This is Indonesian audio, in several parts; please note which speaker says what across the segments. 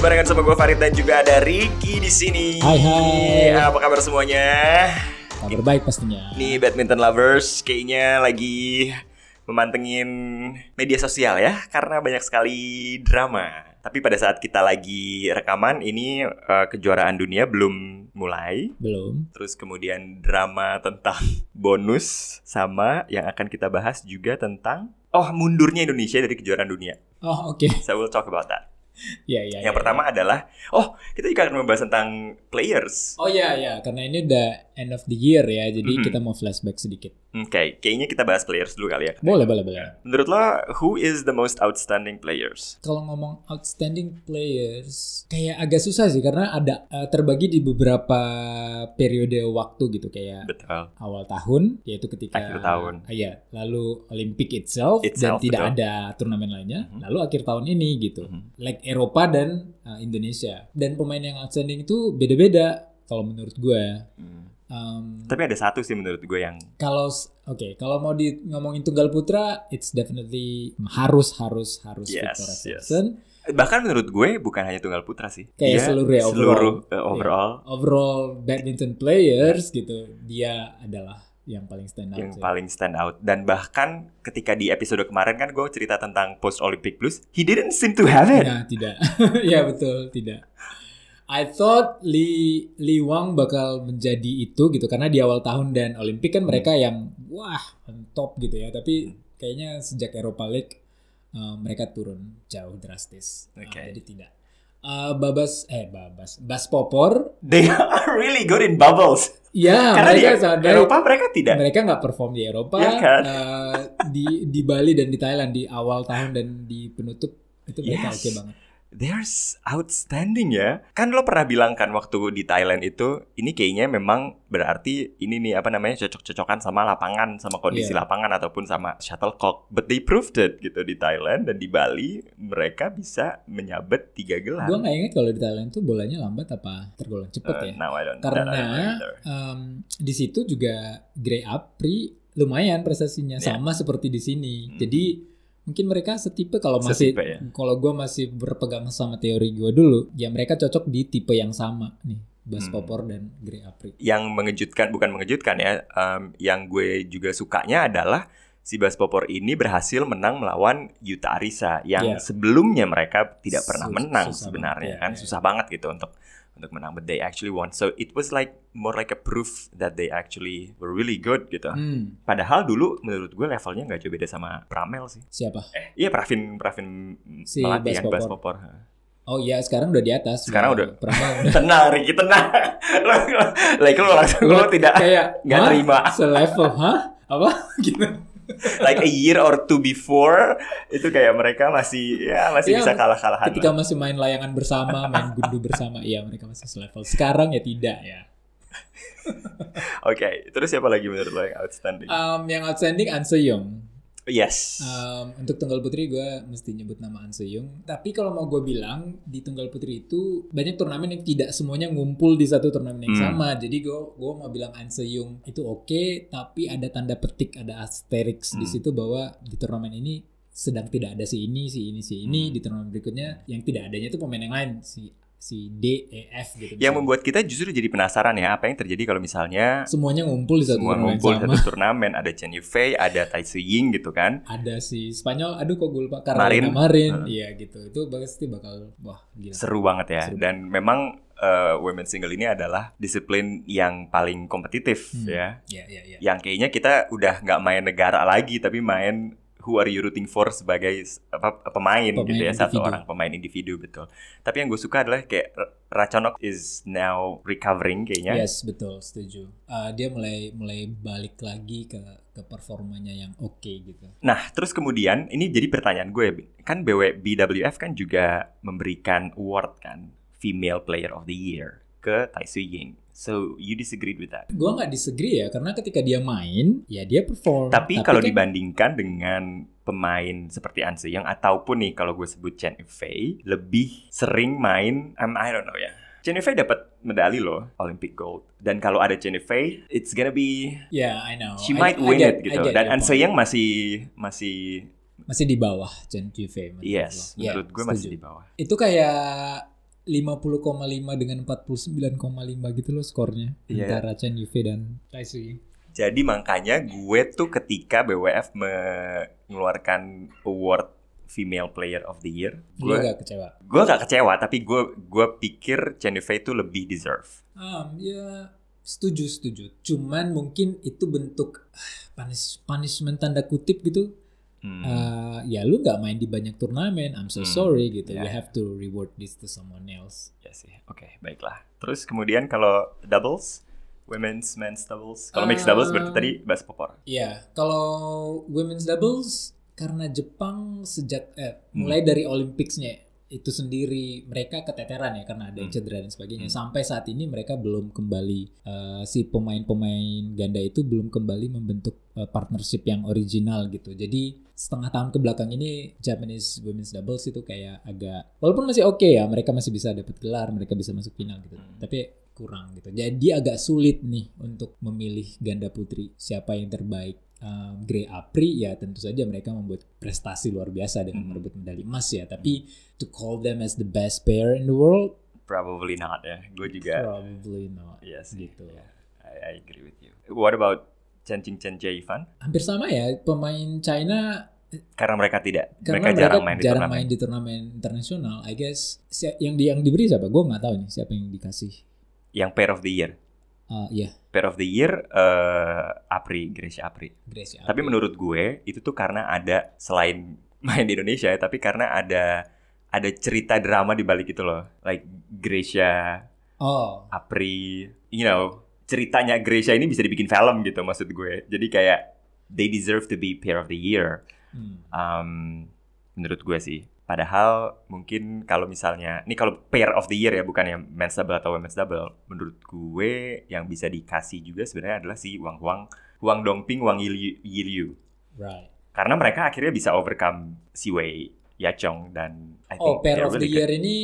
Speaker 1: barengan sama gue Farid dan juga ada Ricky di sini.
Speaker 2: Hai, hai.
Speaker 1: Apa kabar semuanya?
Speaker 2: Kabar baik pastinya.
Speaker 1: Nih badminton lovers kayaknya lagi memantengin media sosial ya karena banyak sekali drama. Tapi pada saat kita lagi rekaman ini eh, kejuaraan dunia belum mulai.
Speaker 2: Belum.
Speaker 1: Terus kemudian drama tentang bonus sama yang akan kita bahas juga tentang oh mundurnya Indonesia dari kejuaraan dunia.
Speaker 2: Oh, oke.
Speaker 1: So we'll talk about that.
Speaker 2: Ya, ya.
Speaker 1: Yang
Speaker 2: ya.
Speaker 1: pertama adalah oh kita juga akan membahas tentang players.
Speaker 2: Oh ya, ya, karena ini udah end of the year ya.
Speaker 1: Mhm.
Speaker 2: Jadi kita mau flashback sedikit.
Speaker 1: Oke, kayaknya kita bahas players dulu kali ya.
Speaker 2: Boleh, boleh, boleh.
Speaker 1: Menurut lo who is the most outstanding players?
Speaker 2: Kalau ngomong outstanding players, kayak agak susah sih karena ada eh, terbagi di beberapa periode waktu gitu kayak
Speaker 1: Betul.
Speaker 2: awal tahun yaitu ketika
Speaker 1: Akhir tahun.
Speaker 2: Ah, iya, lalu Olympic itself,
Speaker 1: Itself,
Speaker 2: dan tidak
Speaker 1: betul.
Speaker 2: ada turnamen lainnya.
Speaker 1: Mhm.
Speaker 2: Lalu akhir tahun ini gitu.
Speaker 1: Mhm.
Speaker 2: like Eropa dan uh, Indonesia. Dan pemain yang outstanding itu beda-beda kalau menurut gue.
Speaker 1: Hmm.
Speaker 2: Um,
Speaker 1: Tapi ada satu sih menurut gue yang
Speaker 2: kalau s- oke, kalau mau di ngomongin tunggal putra, it's definitely harus harus harus
Speaker 1: Yes,
Speaker 2: Victor
Speaker 1: yes.
Speaker 2: Axelsen.
Speaker 1: bahkan menurut gue bukan hanya tunggal putra sih. Dia
Speaker 2: Kayak seluruh ya,
Speaker 1: seluruh
Speaker 2: overall.
Speaker 1: eh, overall
Speaker 2: Overall badminton players gitu, dia adalah yang paling stand out.
Speaker 1: yang
Speaker 2: sih.
Speaker 1: paling stand out dan bahkan ketika di episode kemarin kan gue cerita tentang post Olympic blues, he didn't seem to have it.
Speaker 2: Nah, tidak. ya betul, tidak. I thought Li Li Wang bakal menjadi itu gitu karena di awal tahun dan Olimpik
Speaker 1: Hmm.
Speaker 2: kan mereka yang wah on top gitu ya, tapi kayaknya sejak Eropa League uh, mereka turun jauh drastis. Uh,
Speaker 1: Oke.
Speaker 2: jadi tidak. Uh, babas eh babas Bas Popor
Speaker 1: They are really good in bubbles.
Speaker 2: ya
Speaker 1: Karena di
Speaker 2: mereka sampai
Speaker 1: Eropa mereka tidak.
Speaker 2: mereka nggak perform di Eropa
Speaker 1: Ya kan?
Speaker 2: uh, di di Bali dan di Thailand di awal tahun dan di penutup itu mereka
Speaker 1: Yes.
Speaker 2: oke banget.
Speaker 1: There's outstanding ya. Kan lo pernah bilang kan waktu di Thailand itu, ini kayaknya memang berarti ini nih apa namanya cocok-cocokan sama lapangan, sama kondisi
Speaker 2: Iya.
Speaker 1: lapangan ataupun sama shuttlecock. But they proved it gitu di Thailand dan di Bali mereka bisa menyabet tiga gelar.
Speaker 2: Gue nggak ingat kalau di Thailand tuh bolanya lambat apa tergolong cepet
Speaker 1: Uh,
Speaker 2: ya.
Speaker 1: now I don't- that I don't
Speaker 2: Karena
Speaker 1: either.
Speaker 2: em, di situ juga Grey Apri lumayan prestasinya
Speaker 1: Ya.
Speaker 2: sama seperti di sini.
Speaker 1: Hmm.
Speaker 2: Jadi mungkin mereka setipe kalau masih
Speaker 1: Setipe ya.
Speaker 2: kalau gue masih berpegang sama teori gue dulu, ya mereka cocok di tipe yang sama nih. Bas
Speaker 1: Hmm.
Speaker 2: Popor dan Grey Apri.
Speaker 1: yang mengejutkan bukan mengejutkan ya em, yang gue juga sukanya adalah si Bas Popor ini berhasil menang melawan Yuta Arisa yang
Speaker 2: Iya.
Speaker 1: sebelumnya mereka tidak
Speaker 2: Sus-
Speaker 1: pernah menang
Speaker 2: susah
Speaker 1: sebenarnya
Speaker 2: banget, ya,
Speaker 1: kan
Speaker 2: ya, ya.
Speaker 1: susah banget gitu untuk untuk menang but they actually won so it was like more like a proof that they actually were really good gitu
Speaker 2: Hmm,
Speaker 1: padahal dulu menurut gue levelnya nggak jauh beda sama Pramel sih
Speaker 2: siapa?
Speaker 1: eh iya Pravin Pravin
Speaker 2: Si
Speaker 1: Melati
Speaker 2: Bas
Speaker 1: kan Bas
Speaker 2: Popor.
Speaker 1: Popor
Speaker 2: Oh iya sekarang udah di atas.
Speaker 1: Sekarang
Speaker 2: Wah,
Speaker 1: udah.
Speaker 2: Pramel udah.
Speaker 1: tenang Ricky tenang lo lo- like lo langsung lo tidak
Speaker 2: kayak
Speaker 1: nggak
Speaker 2: "Hah?
Speaker 1: terima."
Speaker 2: Selevel, hah? Apa? Gitu.
Speaker 1: like a year or two before itu kayak mereka masih ya masih
Speaker 2: Iya,
Speaker 1: bisa kalah-kalahan.
Speaker 2: ketika
Speaker 1: lah.
Speaker 2: masih main layangan bersama, main gundu bersama, iya mereka masih selevel. Sekarang ya tidak
Speaker 1: Iya,
Speaker 2: ya.
Speaker 1: Oke, terus siapa lagi menurut lo yang outstanding?
Speaker 2: Um, yang outstanding An Seyong.
Speaker 1: yes.
Speaker 2: Um, untuk tunggal putri gue mesti nyebut nama An Seyong. Tapi kalau mau gue bilang di tunggal putri itu banyak turnamen yang tidak semuanya ngumpul di satu turnamen yang
Speaker 1: Hmm.
Speaker 2: sama. Jadi gue gue mau bilang An Seyong itu oke, tapi ada tanda petik, ada asterix di
Speaker 1: Hmm.
Speaker 2: situ bahwa di turnamen ini sedang tidak ada si ini, si ini, si ini.
Speaker 1: Hmm.
Speaker 2: Di turnamen berikutnya yang tidak adanya itu pemain yang lain si si D, E, F gitu.
Speaker 1: yang
Speaker 2: misalnya.
Speaker 1: membuat kita justru jadi penasaran ya apa yang terjadi kalau misalnya
Speaker 2: semuanya ngumpul di satu
Speaker 1: semua
Speaker 2: turnamen yang
Speaker 1: ngumpul di
Speaker 2: sama.
Speaker 1: satu turnamen ada Chen Yufei, ada Tai Su Ying gitu kan.
Speaker 2: Ada si Spanyol, aduh kok gue lupa
Speaker 1: Marin.
Speaker 2: Carolina Marin,
Speaker 1: Heeh.
Speaker 2: iya gitu. Itu pasti bakal wah gila.
Speaker 1: Seru banget ya.
Speaker 2: Iya. Seru.
Speaker 1: Dan memang eh, women single ini adalah disiplin yang paling kompetitif
Speaker 2: Hmm.
Speaker 1: ya.
Speaker 2: Iya, iya, iya.
Speaker 1: Yang kayaknya kita udah nggak main negara lagi tapi main who are you rooting for sebagai s- apa, pemain,
Speaker 2: Pemain
Speaker 1: gitu ya satu
Speaker 2: individu.
Speaker 1: orang pemain individu betul. Tapi yang gue suka adalah kayak R- Raconok is now recovering kayaknya.
Speaker 2: Yes, betul, setuju. Eh, dia mulai mulai balik lagi ke ke performanya yang oke gitu.
Speaker 1: Nah, terus kemudian ini jadi pertanyaan gue kan BW, BWF kan juga memberikan award kan female player of the year ke Tai Su Ying. So you disagreed with that?
Speaker 2: Gua nggak disagree ya, karena ketika dia main, ya dia perform.
Speaker 1: Tapi kalau
Speaker 2: kan-
Speaker 1: dibandingkan dengan pemain seperti An Seyong ataupun nih kalau gue sebut Chen Yufei lebih sering main um, I don't know ya. Chen Yufei dapat medali loh Olympic gold dan kalau ada Chen Yufei it's gonna be
Speaker 2: ya I know.
Speaker 1: she
Speaker 2: I-
Speaker 1: might
Speaker 2: I
Speaker 1: win
Speaker 2: get-
Speaker 1: it
Speaker 2: I
Speaker 1: gitu
Speaker 2: get
Speaker 1: dan
Speaker 2: your
Speaker 1: An
Speaker 2: point.
Speaker 1: Seyong masih masih
Speaker 2: masih di bawah Chen Yufei. menurut
Speaker 1: yes
Speaker 2: lo. Ya,
Speaker 1: menurut gue
Speaker 2: setuju.
Speaker 1: masih di bawah.
Speaker 2: itu kayak 50,5 dengan 49,5 gitu loh skornya
Speaker 1: Iya.
Speaker 2: antara Chen Yufei dan Tai Su Ying.
Speaker 1: Jadi makanya gue tuh ketika BWF mengeluarkan award Female Player of the Year,
Speaker 2: Gue
Speaker 1: gue
Speaker 2: agak kecewa.
Speaker 1: gue gak kecewa, tapi gue gue pikir Jennifer itu lebih deserve.
Speaker 2: Um, ya setuju setuju. Cuman mungkin itu bentuk ah, punish, punishment tanda kutip gitu.
Speaker 1: Hmm.
Speaker 2: Eh, ya lu nggak main di banyak turnamen. I'm so
Speaker 1: Hmm.
Speaker 2: sorry gitu.
Speaker 1: Yeah.
Speaker 2: You have to reward this to someone else.
Speaker 1: Ya sih, oke baiklah. Terus kemudian kalau doubles, women's, men's doubles, kalau mixed doubles berarti
Speaker 2: Um,
Speaker 1: tadi bahas popor.
Speaker 2: Ya kalau women's doubles karena Jepang sejak eh,
Speaker 1: Hmm.
Speaker 2: mulai dari Olympics-nya itu sendiri mereka keteteran ya karena ada yang
Speaker 1: Hmm.
Speaker 2: cedera dan sebagainya.
Speaker 1: Hmm.
Speaker 2: Sampai saat ini mereka belum kembali eh, si pemain-pemain ganda itu belum kembali membentuk eh, partnership yang original gitu. Jadi setengah tahun ke belakang ini Japanese women's doubles itu kayak agak walaupun masih oke ya, mereka masih bisa dapat gelar, mereka bisa masuk final gitu.
Speaker 1: Hmm.
Speaker 2: Tapi kurang gitu. Jadi agak sulit nih untuk memilih ganda putri siapa yang terbaik. Um, Grey Apri ya tentu saja mereka membuat prestasi luar biasa dengan
Speaker 1: Hmm.
Speaker 2: merebut medali emas ya. Tapi to call them as the best pair in the world
Speaker 1: Probably not ya. Gue juga.
Speaker 2: probably not.
Speaker 1: Yes.
Speaker 2: Gitu.
Speaker 1: I, I agree with you. What about Chen Ching Chen Jie Fan?
Speaker 2: Hampir sama ya pemain China
Speaker 1: Karena mereka tidak,
Speaker 2: karena
Speaker 1: mereka, jarang main di
Speaker 2: jarang
Speaker 1: turnamen.
Speaker 2: main di turnamen internasional. I guess si- yang di yang diberi siapa? Gue nggak tahu nih siapa yang dikasih.
Speaker 1: Yang pair of the year,
Speaker 2: Uh, ya
Speaker 1: pair of the year, eh Apri, Grace Apri.
Speaker 2: Grace ya. Apri.
Speaker 1: Tapi menurut gue itu tuh karena ada selain main di Indonesia ya, tapi karena ada ada cerita drama di balik itu loh. Like Gracia,
Speaker 2: oh
Speaker 1: Apri, you know, ceritanya Gracia ini bisa dibikin film gitu maksud gue. Jadi kayak they deserve to be pair of the year.
Speaker 2: hmm.
Speaker 1: Um, menurut gue sih. Padahal mungkin kalau misalnya, ini kalau pair of the year ya bukan yang men's double atau women's double. Menurut gue yang bisa dikasih juga sebenarnya adalah si Wang Huang, Huang Dongping, Wang Yiliu. Yiliu.
Speaker 2: right.
Speaker 1: Karena mereka akhirnya bisa overcome si Wei Yachong dan I think
Speaker 2: Oh, pair
Speaker 1: they're
Speaker 2: of the
Speaker 1: really
Speaker 2: year ini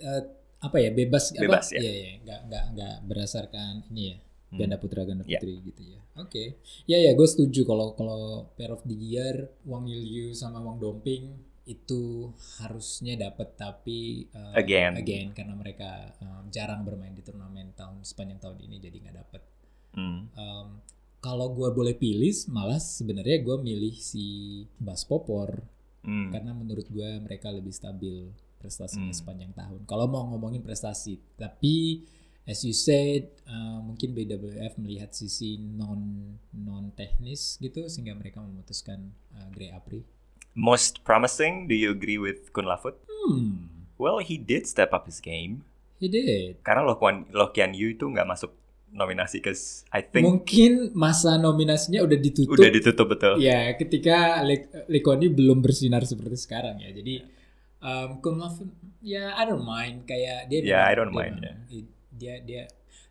Speaker 2: eh, apa ya bebas
Speaker 1: ya kan? Bebas,
Speaker 2: apa?
Speaker 1: ya.
Speaker 2: Iya, iya, nggak nggak nggak berdasarkan ini ya
Speaker 1: good.
Speaker 2: ganda putra ganda
Speaker 1: Ya.
Speaker 2: putri gitu ya. Oke, ya ya gue setuju kalau kalau pair of the year Wang Yulyu sama Wang Domping itu harusnya dapat tapi eh,
Speaker 1: Again.
Speaker 2: karena mereka eh, jarang bermain di turnamen tahun sepanjang tahun ini jadi nggak dapat.
Speaker 1: Hmm.
Speaker 2: Em, kalau gue boleh pilih, malah sebenarnya gue milih si Bas Popor
Speaker 1: Hmm.
Speaker 2: karena menurut gue mereka lebih stabil prestasinya
Speaker 1: Hmm.
Speaker 2: sepanjang tahun. Kalau mau ngomongin prestasi, tapi as you said uh, mungkin BWF melihat sisi non non teknis gitu sehingga mereka memutuskan uh, Grey Apri.
Speaker 1: Most promising, do you agree with Kun Lafut?
Speaker 2: Hmm,
Speaker 1: Well, he did step up his game.
Speaker 2: he did.
Speaker 1: Karena Loh Kwan, Loh Kian Yu itu nggak masuk nominasi, cause I think
Speaker 2: Mungkin masa nominasinya udah ditutup.
Speaker 1: udah ditutup betul.
Speaker 2: Ya, ketika Le- Lekoni belum bersinar seperti sekarang ya. Jadi um, Kun Lafun, ya I don't mind kayak
Speaker 1: Ya,
Speaker 2: dia memang-
Speaker 1: Iya. I don't
Speaker 2: dia
Speaker 1: mind,
Speaker 2: memang- i- Dia dia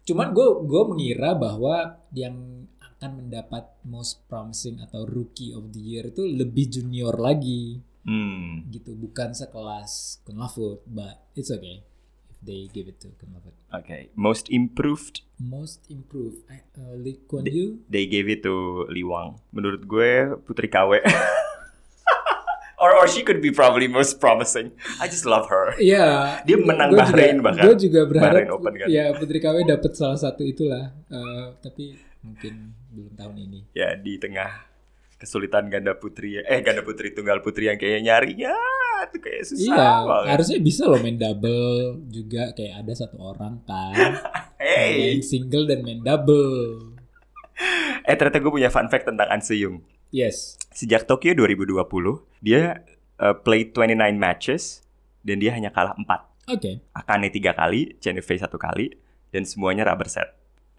Speaker 2: cuman gue gue mengira bahwa yang akan mendapat most promising atau rookie of the year itu lebih junior lagi
Speaker 1: Hmm,
Speaker 2: gitu, bukan sekelas Kun Lafun, but it's okay if they give it to Kun Lafun.
Speaker 1: oke. Most improved,
Speaker 2: Most improved, I- uh, Lee Kuan Yew
Speaker 1: they gave it to Li Wang. Menurut gue Putri KW. or or she could be probably most promising. I just love her.
Speaker 2: Iya.
Speaker 1: Dia menang
Speaker 2: Gua
Speaker 1: Bahrain
Speaker 2: juga,
Speaker 1: bahkan.
Speaker 2: Gue juga berharap
Speaker 1: Bahrain Open kan.
Speaker 2: ya Putri KW dapat salah satu itulah. Eh, tapi mungkin belum tahun ini.
Speaker 1: Ya di tengah kesulitan ganda putri eh ganda putri tunggal putri yang kayaknya nyarinya itu kayak susah
Speaker 2: iya,
Speaker 1: banget.
Speaker 2: harusnya bisa loh main double juga kayak ada satu orang kan
Speaker 1: Hey.
Speaker 2: main single dan main double.
Speaker 1: Eh ternyata gue punya fun fact tentang An Seyung.
Speaker 2: Yes.
Speaker 1: Sejak Tokyo 2020, dia uh, play 29 matches dan dia hanya kalah 4.
Speaker 2: Oke.
Speaker 1: Akane 3 kali, Jennifer 1 kali, dan semuanya rubber set.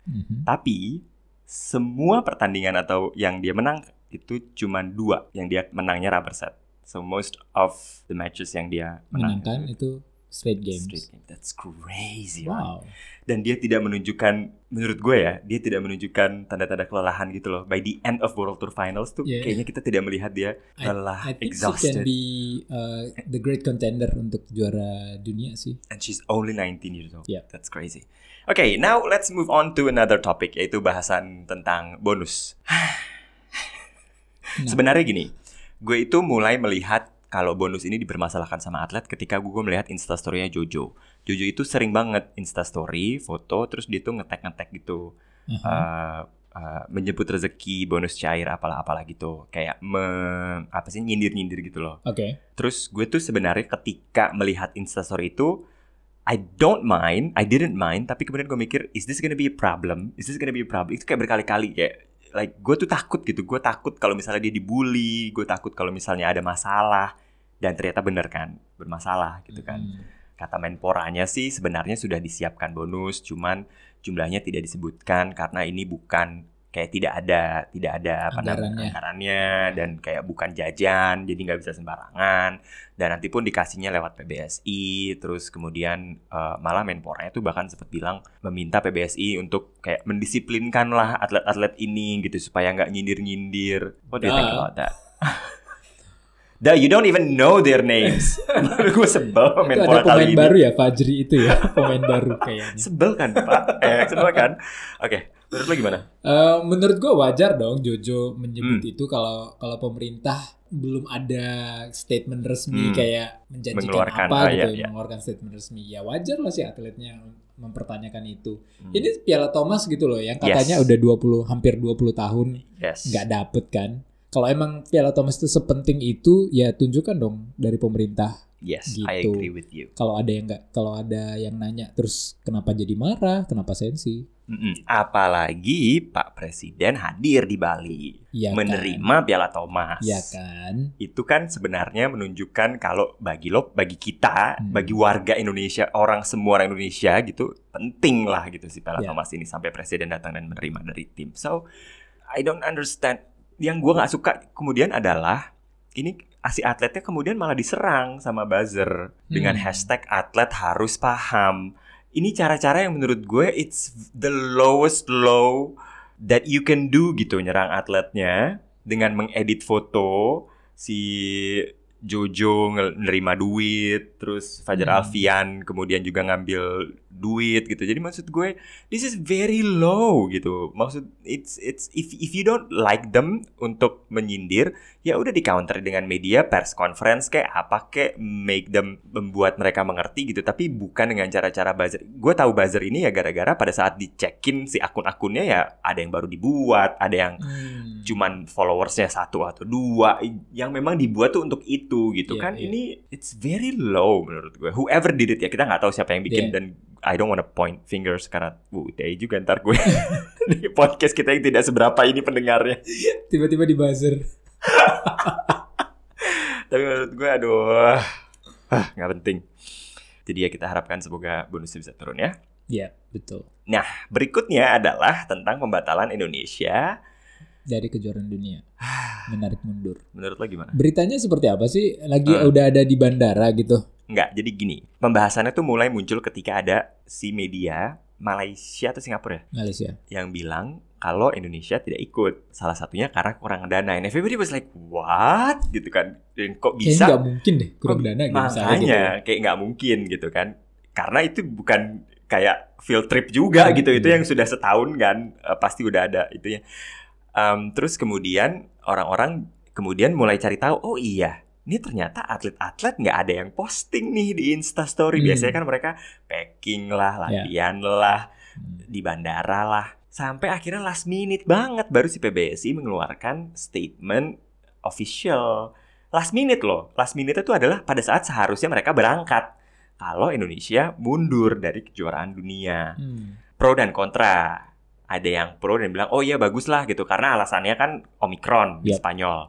Speaker 2: Mhm.
Speaker 1: Tapi semua pertandingan atau yang dia menang itu cuma dua yang dia menangnya rubber set. So most of the matches yang dia menang
Speaker 2: Menangkan itu straight games.
Speaker 1: Straight game. That's crazy. right?
Speaker 2: Wow.
Speaker 1: Dan dia tidak menunjukkan menurut gue ya, dia tidak menunjukkan tanda-tanda kelelahan gitu loh. By the end of World Tour Finals tuh
Speaker 2: Yeah.
Speaker 1: kayaknya kita tidak melihat dia lelah,
Speaker 2: I think she
Speaker 1: exhausted.
Speaker 2: can be uh, the great contender untuk juara dunia sih.
Speaker 1: And she's only 19 years old.
Speaker 2: Yeah.
Speaker 1: That's crazy. Okay, now let's move on to another topic yaitu bahasan tentang bonus.
Speaker 2: Nah.
Speaker 1: Sebenarnya gini, gue itu mulai melihat kalau bonus ini dipermasalahkan sama atlet ketika gue melihat instastorynya Jojo. Jojo itu sering banget instastory, foto, terus dia tuh ngetek-ngetek gitu.
Speaker 2: Aha.
Speaker 1: eh eh, menyebut rezeki, bonus cair, apalah-apalah gitu. Kayak me, apa sih nyindir-nyindir gitu loh.
Speaker 2: Oke.
Speaker 1: Terus gue tuh sebenarnya ketika melihat instastory itu I don't mind, I didn't mind, tapi kemudian gue mikir is this gonna be a problem? Is this gonna be a problem? Itu kayak berkali-kali kayak like gue tuh takut gitu. Gue takut kalau misalnya dia dibully, gue takut kalau misalnya ada masalah dan ternyata bener kan bermasalah gitu kan
Speaker 2: Hmm.
Speaker 1: kata Menporanya sih sebenarnya sudah disiapkan bonus, cuman jumlahnya tidak disebutkan karena ini bukan kayak tidak ada tidak ada apa namanya,
Speaker 2: Anggarannya.
Speaker 1: anggarannya dan kayak bukan jajan jadi nggak bisa sembarangan dan nanti pun dikasihnya lewat PBSI terus kemudian eh, malah menporanya tuh bahkan sempat bilang meminta PBSI untuk kayak mendisiplinkanlah atlet-atlet ini gitu supaya nggak nyindir-nyindir what do you think
Speaker 2: Duh.
Speaker 1: about that Duh, you don't even know their names. Baru gue sebel sama
Speaker 2: Itu
Speaker 1: Menpora
Speaker 2: ada
Speaker 1: kali
Speaker 2: pemain
Speaker 1: ini.
Speaker 2: baru ya Fajri itu ya, pemain baru kayaknya.
Speaker 1: Sebel kan, Pak? Eh, sebel kan? Oke, menurut lo gimana?
Speaker 2: Eh, menurut gue wajar dong Jojo menyebut
Speaker 1: Hmm.
Speaker 2: itu kalau kalau pemerintah belum ada statement resmi
Speaker 1: Hmm.
Speaker 2: kayak menjanjikan
Speaker 1: Mengeluarkan,
Speaker 2: apa
Speaker 1: ah,
Speaker 2: gitu,
Speaker 1: iya, iya.
Speaker 2: mengeluarkan statement resmi. Ya wajar lah si atletnya mempertanyakan itu.
Speaker 1: Hmm,
Speaker 2: Ini Piala Thomas gitu loh yang
Speaker 1: Yes.
Speaker 2: katanya udah 20 hampir 20 tahun
Speaker 1: yes.
Speaker 2: nggak dapet kan. Kalau emang Piala Thomas itu sepenting itu ya tunjukkan dong dari pemerintah.
Speaker 1: Yes, I
Speaker 2: gitu.
Speaker 1: agree with you.
Speaker 2: Kalau ada yang nggak, kalau ada yang nanya terus kenapa jadi marah, kenapa sensi?
Speaker 1: Mm-mm. Apalagi Pak Presiden hadir di Bali
Speaker 2: Iya kan?
Speaker 1: menerima Piala Thomas.
Speaker 2: Iya kan?
Speaker 1: Itu kan sebenarnya menunjukkan kalau bagi lo, bagi kita,
Speaker 2: Hmm.
Speaker 1: bagi warga Indonesia, orang semua orang Indonesia gitu, penting lah gitu si Piala
Speaker 2: Ya.
Speaker 1: Thomas ini sampai Presiden datang dan menerima dari tim. So, I don't understand. Yang gua nggak suka kemudian adalah ini si atletnya kemudian malah diserang sama buzzer dengan
Speaker 2: Hmm.
Speaker 1: hashtag atlet harus paham. Ini cara-cara yang menurut gue it's the lowest low that you can do gitu nyerang atletnya dengan mengedit foto si Jojo ngel- nerima duit, terus Fajar
Speaker 2: Hmm.
Speaker 1: Alfian kemudian juga ngambil duit gitu. Jadi maksud gue this is very low gitu. Maksud it's it's if if you don't like them untuk menyindir, ya udah di counter dengan media pers conference kayak apa kayak make them membuat mereka mengerti gitu. Tapi bukan dengan cara-cara buzzer. Gue tahu buzzer ini ya gara-gara pada saat dicekin si akun-akunnya ya ada yang baru dibuat, ada yang
Speaker 2: Hmm.
Speaker 1: cuman followersnya satu atau dua yang memang dibuat tuh untuk itu gitu
Speaker 2: Iya,
Speaker 1: kan
Speaker 2: iya.
Speaker 1: ini it's very low menurut gue whoever did it ya kita nggak tahu siapa yang bikin
Speaker 2: Iya.
Speaker 1: dan I don't wanna point fingers karena bu UTI juga ntar gue di podcast kita yang tidak seberapa ini pendengarnya
Speaker 2: tiba-tiba di buzzer.
Speaker 1: tapi menurut gue aduh ah, nggak penting jadi ya kita harapkan semoga bonusnya bisa turun ya
Speaker 2: Iya, betul.
Speaker 1: berikutnya adalah tentang pembatalan Indonesia
Speaker 2: Dari kejuaraan dunia. Menarik mundur.
Speaker 1: menurut lo gimana
Speaker 2: Beritanya seperti apa sih? Lagi
Speaker 1: Eh.
Speaker 2: udah ada di bandara gitu.
Speaker 1: Nggak, jadi gini. Pembahasannya tuh mulai muncul ketika ada si media Malaysia atau Singapura ya,
Speaker 2: Malaysia.
Speaker 1: yang bilang kalau Indonesia tidak ikut. Salah satunya karena kurang dana. And everybody was like, what? Gitu kan. Dan kok
Speaker 2: Kayaknya
Speaker 1: bisa?
Speaker 2: nggak mungkin deh kurang dana gitu misalnya gitu.
Speaker 1: Makanya, kayak nggak mungkin gitu kan. Karena itu bukan kayak field trip juga gitu. Itu
Speaker 2: Iya.
Speaker 1: yang sudah setahun kan, eh, pasti udah ada itunya. Em, terus kemudian orang-orang kemudian mulai cari tahu, oh iya, ini ternyata atlet-atlet nggak ada yang posting nih di Instastory.
Speaker 2: Hmm.
Speaker 1: Biasanya kan mereka packing lah,
Speaker 2: Iya.
Speaker 1: latihan lah,
Speaker 2: Hmm.
Speaker 1: di bandara lah. Sampai akhirnya last minute banget baru si PBSI mengeluarkan statement official. Last minute loh. Last minute itu adalah pada saat seharusnya mereka berangkat. Kalau Indonesia mundur dari kejuaraan dunia.
Speaker 2: Hmm.
Speaker 1: Pro dan kontra. Ada yang pro dan bilang, oh iya bagus lah gitu. Karena alasannya kan Omikron di
Speaker 2: Yap.
Speaker 1: Spanyol.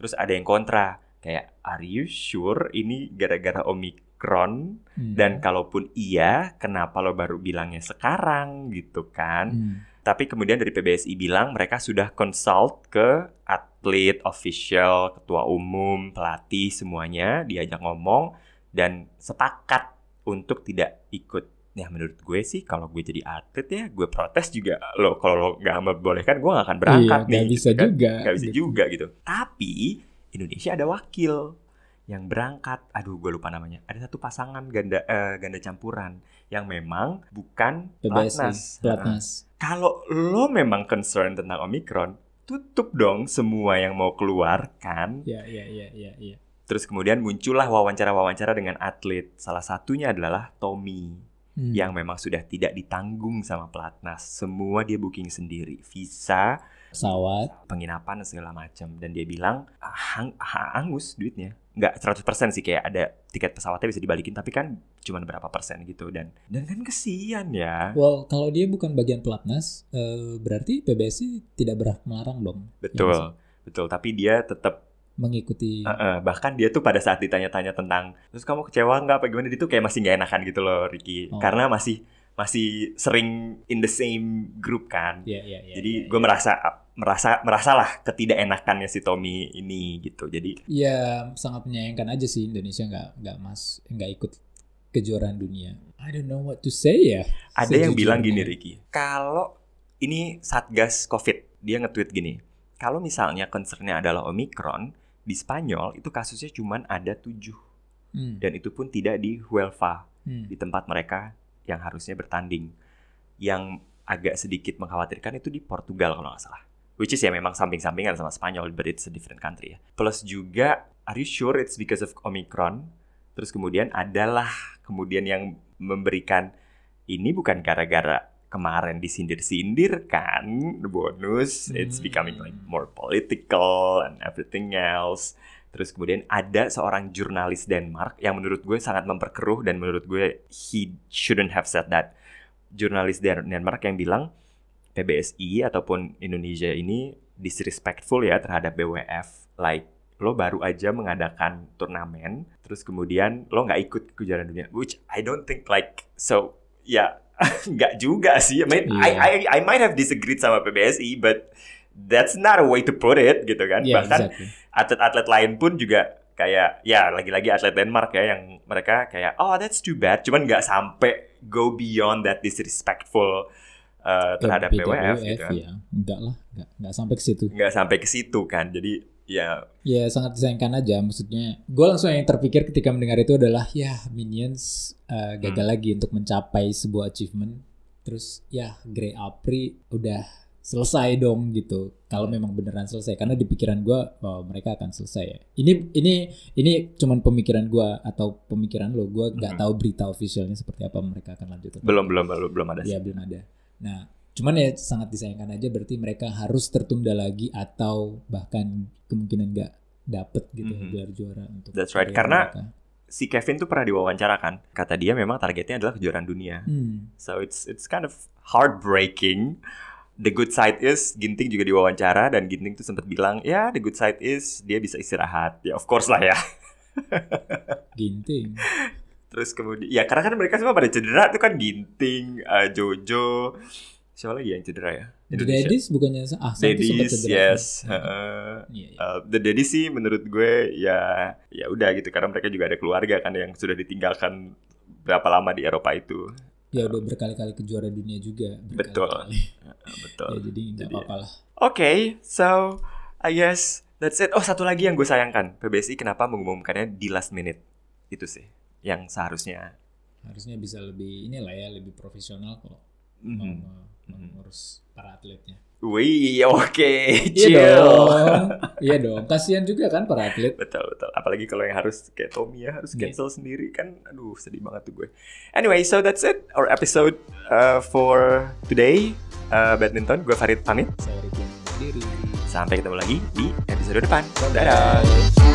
Speaker 1: Terus ada yang kontra. Kayak, are you sure ini gara-gara Omikron?
Speaker 2: Hmm.
Speaker 1: Dan kalaupun iya, kenapa lo baru bilangnya sekarang gitu kan?
Speaker 2: Hmm.
Speaker 1: Tapi kemudian dari PBSI bilang mereka sudah consult ke atlet, official, ketua umum, pelatih semuanya diajak ngomong dan sepakat untuk tidak ikut. Ya menurut gue sih kalau gue jadi atlet ya gue protes juga lo kalau lo nggak membolehkan gue nggak akan berangkat nih.
Speaker 2: iya, nggak
Speaker 1: gitu
Speaker 2: bisa
Speaker 1: kan
Speaker 2: juga.
Speaker 1: nggak bisa
Speaker 2: Gitu.
Speaker 1: juga gitu. Tapi Indonesia ada wakil yang berangkat. Aduh, gue lupa namanya. Ada satu pasangan ganda eh, ganda campuran yang memang bukan
Speaker 2: PBSI,
Speaker 1: pelatnas. Heeh.
Speaker 2: Pelatnas.
Speaker 1: Kalau lo memang concern tentang Omikron, tutup dong semua yang mau keluar kan.
Speaker 2: Iya, iya, iya, iya, iya.
Speaker 1: Terus kemudian muncullah wawancara-wawancara dengan atlet. Salah satunya adalah Tommy
Speaker 2: Hmm.
Speaker 1: yang memang sudah tidak ditanggung sama pelatnas. Semua dia booking sendiri, visa,
Speaker 2: pesawat
Speaker 1: penginapan dan segala macam. Dan dia bilang "Ah, hang- ah, angus duitnya. Nggak 100% sih kayak ada tiket pesawatnya bisa dibalikin tapi kan cuman berapa persen gitu dan dan kan kesian ya.
Speaker 2: Well, kalau dia bukan bagian pelatnas, eh, berarti PBSI tidak berhak melarang dong. Ya nggak
Speaker 1: Betul. Betul, tapi dia tetap
Speaker 2: sih? mengikuti.
Speaker 1: Heeh, bahkan dia tuh pada saat ditanya-tanya tentang terus kamu kecewa nggak apa gimana dia tuh kayak masih nggak enakan gitu loh Ricky
Speaker 2: Oh.
Speaker 1: karena masih masih sering in the same group kan
Speaker 2: Ya, ya, ya,
Speaker 1: jadi
Speaker 2: ya,
Speaker 1: gue
Speaker 2: ya.
Speaker 1: merasa merasa merasalah ketidakenakannya si Tommy ini gitu jadi
Speaker 2: Ya, sangat menyayangkan aja sih Indonesia nggak nggak mas nggak ikut kejuaraan dunia. I don't know what to say ya.
Speaker 1: ada yang bilang gini
Speaker 2: Sejujurnya.
Speaker 1: Ricky kalau ini satgas covid dia nge-tweet gini kalau misalnya concernnya adalah omikron di Spanyol itu kasusnya cuman ada tujuh
Speaker 2: Hmm,
Speaker 1: dan itu pun tidak di Huelva
Speaker 2: hmm.
Speaker 1: di tempat mereka yang harusnya bertanding. Yang agak sedikit mengkhawatirkan itu di Portugal kalau nggak salah. Which is ya memang samping-sampingan sama Spanyol, but it's a different country ya. Plus juga, are you sure it's because of Omicron? Terus kemudian adalah kemudian yang memberikan ini bukan gara-gara kemarin disindir-sindir kan bonus it's
Speaker 2: Hmm.
Speaker 1: becoming like more political and everything else terus kemudian ada seorang jurnalis Denmark yang menurut gue sangat memperkeruh dan menurut gue he shouldn't have said that jurnalis Den- Denmark yang bilang PBSI ataupun Indonesia ini disrespectful ya terhadap BWF like lo baru aja mengadakan turnamen terus kemudian lo nggak ikut kejuaraan dunia which I don't think like so ya nggak juga sih I, mean, I, I I might have disagreed sama PBSI but that's not a way to put it gitu kan
Speaker 2: Ya,
Speaker 1: bahkan
Speaker 2: exactly.
Speaker 1: atlet-atlet lain pun juga kayak ya lagi-lagi atlet Denmark ya yang mereka kayak oh that's too bad cuman nggak sampai go beyond that disrespectful uh, terhadap
Speaker 2: Tapi
Speaker 1: BWF gitu kan
Speaker 2: ya. Enggak lah, enggak, enggak sampai ke situ.
Speaker 1: nggak sampai ke situ kan jadi ya
Speaker 2: Ya sangat disayangkan aja maksudnya. Gue langsung yang terpikir ketika mendengar itu adalah ya Minions eh, gagal lagi untuk mencapai sebuah achievement. Terus ya Grey Apri udah selesai dong gitu. Kalau memang beneran selesai karena di pikiran gue bahwa mereka akan selesai ya. Ini ini ini cuman pemikiran gue atau pemikiran lo. Gue nggak
Speaker 1: Mhm.
Speaker 2: tahu berita officialnya seperti apa mereka akan lanjut. atau
Speaker 1: belum belum belum belum ada sih.
Speaker 2: Ya belum ada. Nah, cuman ya sangat disayangkan aja berarti mereka harus tertunda lagi atau bahkan kemungkinan nggak dapet gitu
Speaker 1: Mhm.
Speaker 2: gelar juara untuk.
Speaker 1: That's right,
Speaker 2: karir
Speaker 1: karena
Speaker 2: mereka.
Speaker 1: si Kevin tuh pernah diwawancara kan kata dia memang targetnya adalah kejuaraan dunia
Speaker 2: Hmm,
Speaker 1: so it's it's kind of heartbreaking The good side is Ginting juga diwawancara dan Ginting tuh sempat bilang ya the good side is dia bisa istirahat ya of course lah ya
Speaker 2: ginting.
Speaker 1: Terus kemudian ya karena kan mereka semua pada cedera tuh kan Ginting, eh, Jojo, siapa lagi yang cedera ya? Indonesia.
Speaker 2: Dedis bukannya ah satu sempat
Speaker 1: Dedis,
Speaker 2: cedera.
Speaker 1: yes.
Speaker 2: Iya,
Speaker 1: Heeh.
Speaker 2: iya.
Speaker 1: Eh, the Daddy sih menurut gue ya ya udah gitu karena mereka juga ada keluarga kan yang sudah ditinggalkan berapa lama di Eropa itu.
Speaker 2: Ya udah berkali-kali ke juara dunia juga.
Speaker 1: Betul.
Speaker 2: berkali-kali.
Speaker 1: Eh,
Speaker 2: Ya,
Speaker 1: Betul.
Speaker 2: jadi nggak
Speaker 1: Jadi-
Speaker 2: apa-apa lah.
Speaker 1: Oke, so I guess that's it. Oh, satu lagi yang gue sayangkan, PBSI kenapa mengumumkannya di last minute. Itu sih yang seharusnya.
Speaker 2: Harusnya bisa lebih inilah ya lebih profesional kalau mau
Speaker 1: Mhm.
Speaker 2: mau-
Speaker 1: Mhm.
Speaker 2: mengurus para atletnya.
Speaker 1: Wih, oke, chill.
Speaker 2: Iya dong, iya dong. Kasihan juga kan para atlet.
Speaker 1: Betul, betul. Apalagi kalau yang harus kayak Tommy ya, harus
Speaker 2: Iya.
Speaker 1: cancel sendiri kan. Aduh, sedih banget tuh gue. Anyway, so that's it. Our episode uh, for today. Uh, badminton, gue Farid pamit.
Speaker 2: Saya Ricky sendiri.
Speaker 1: Sampai ketemu lagi di episode depan. Dadah!
Speaker 2: Dadah.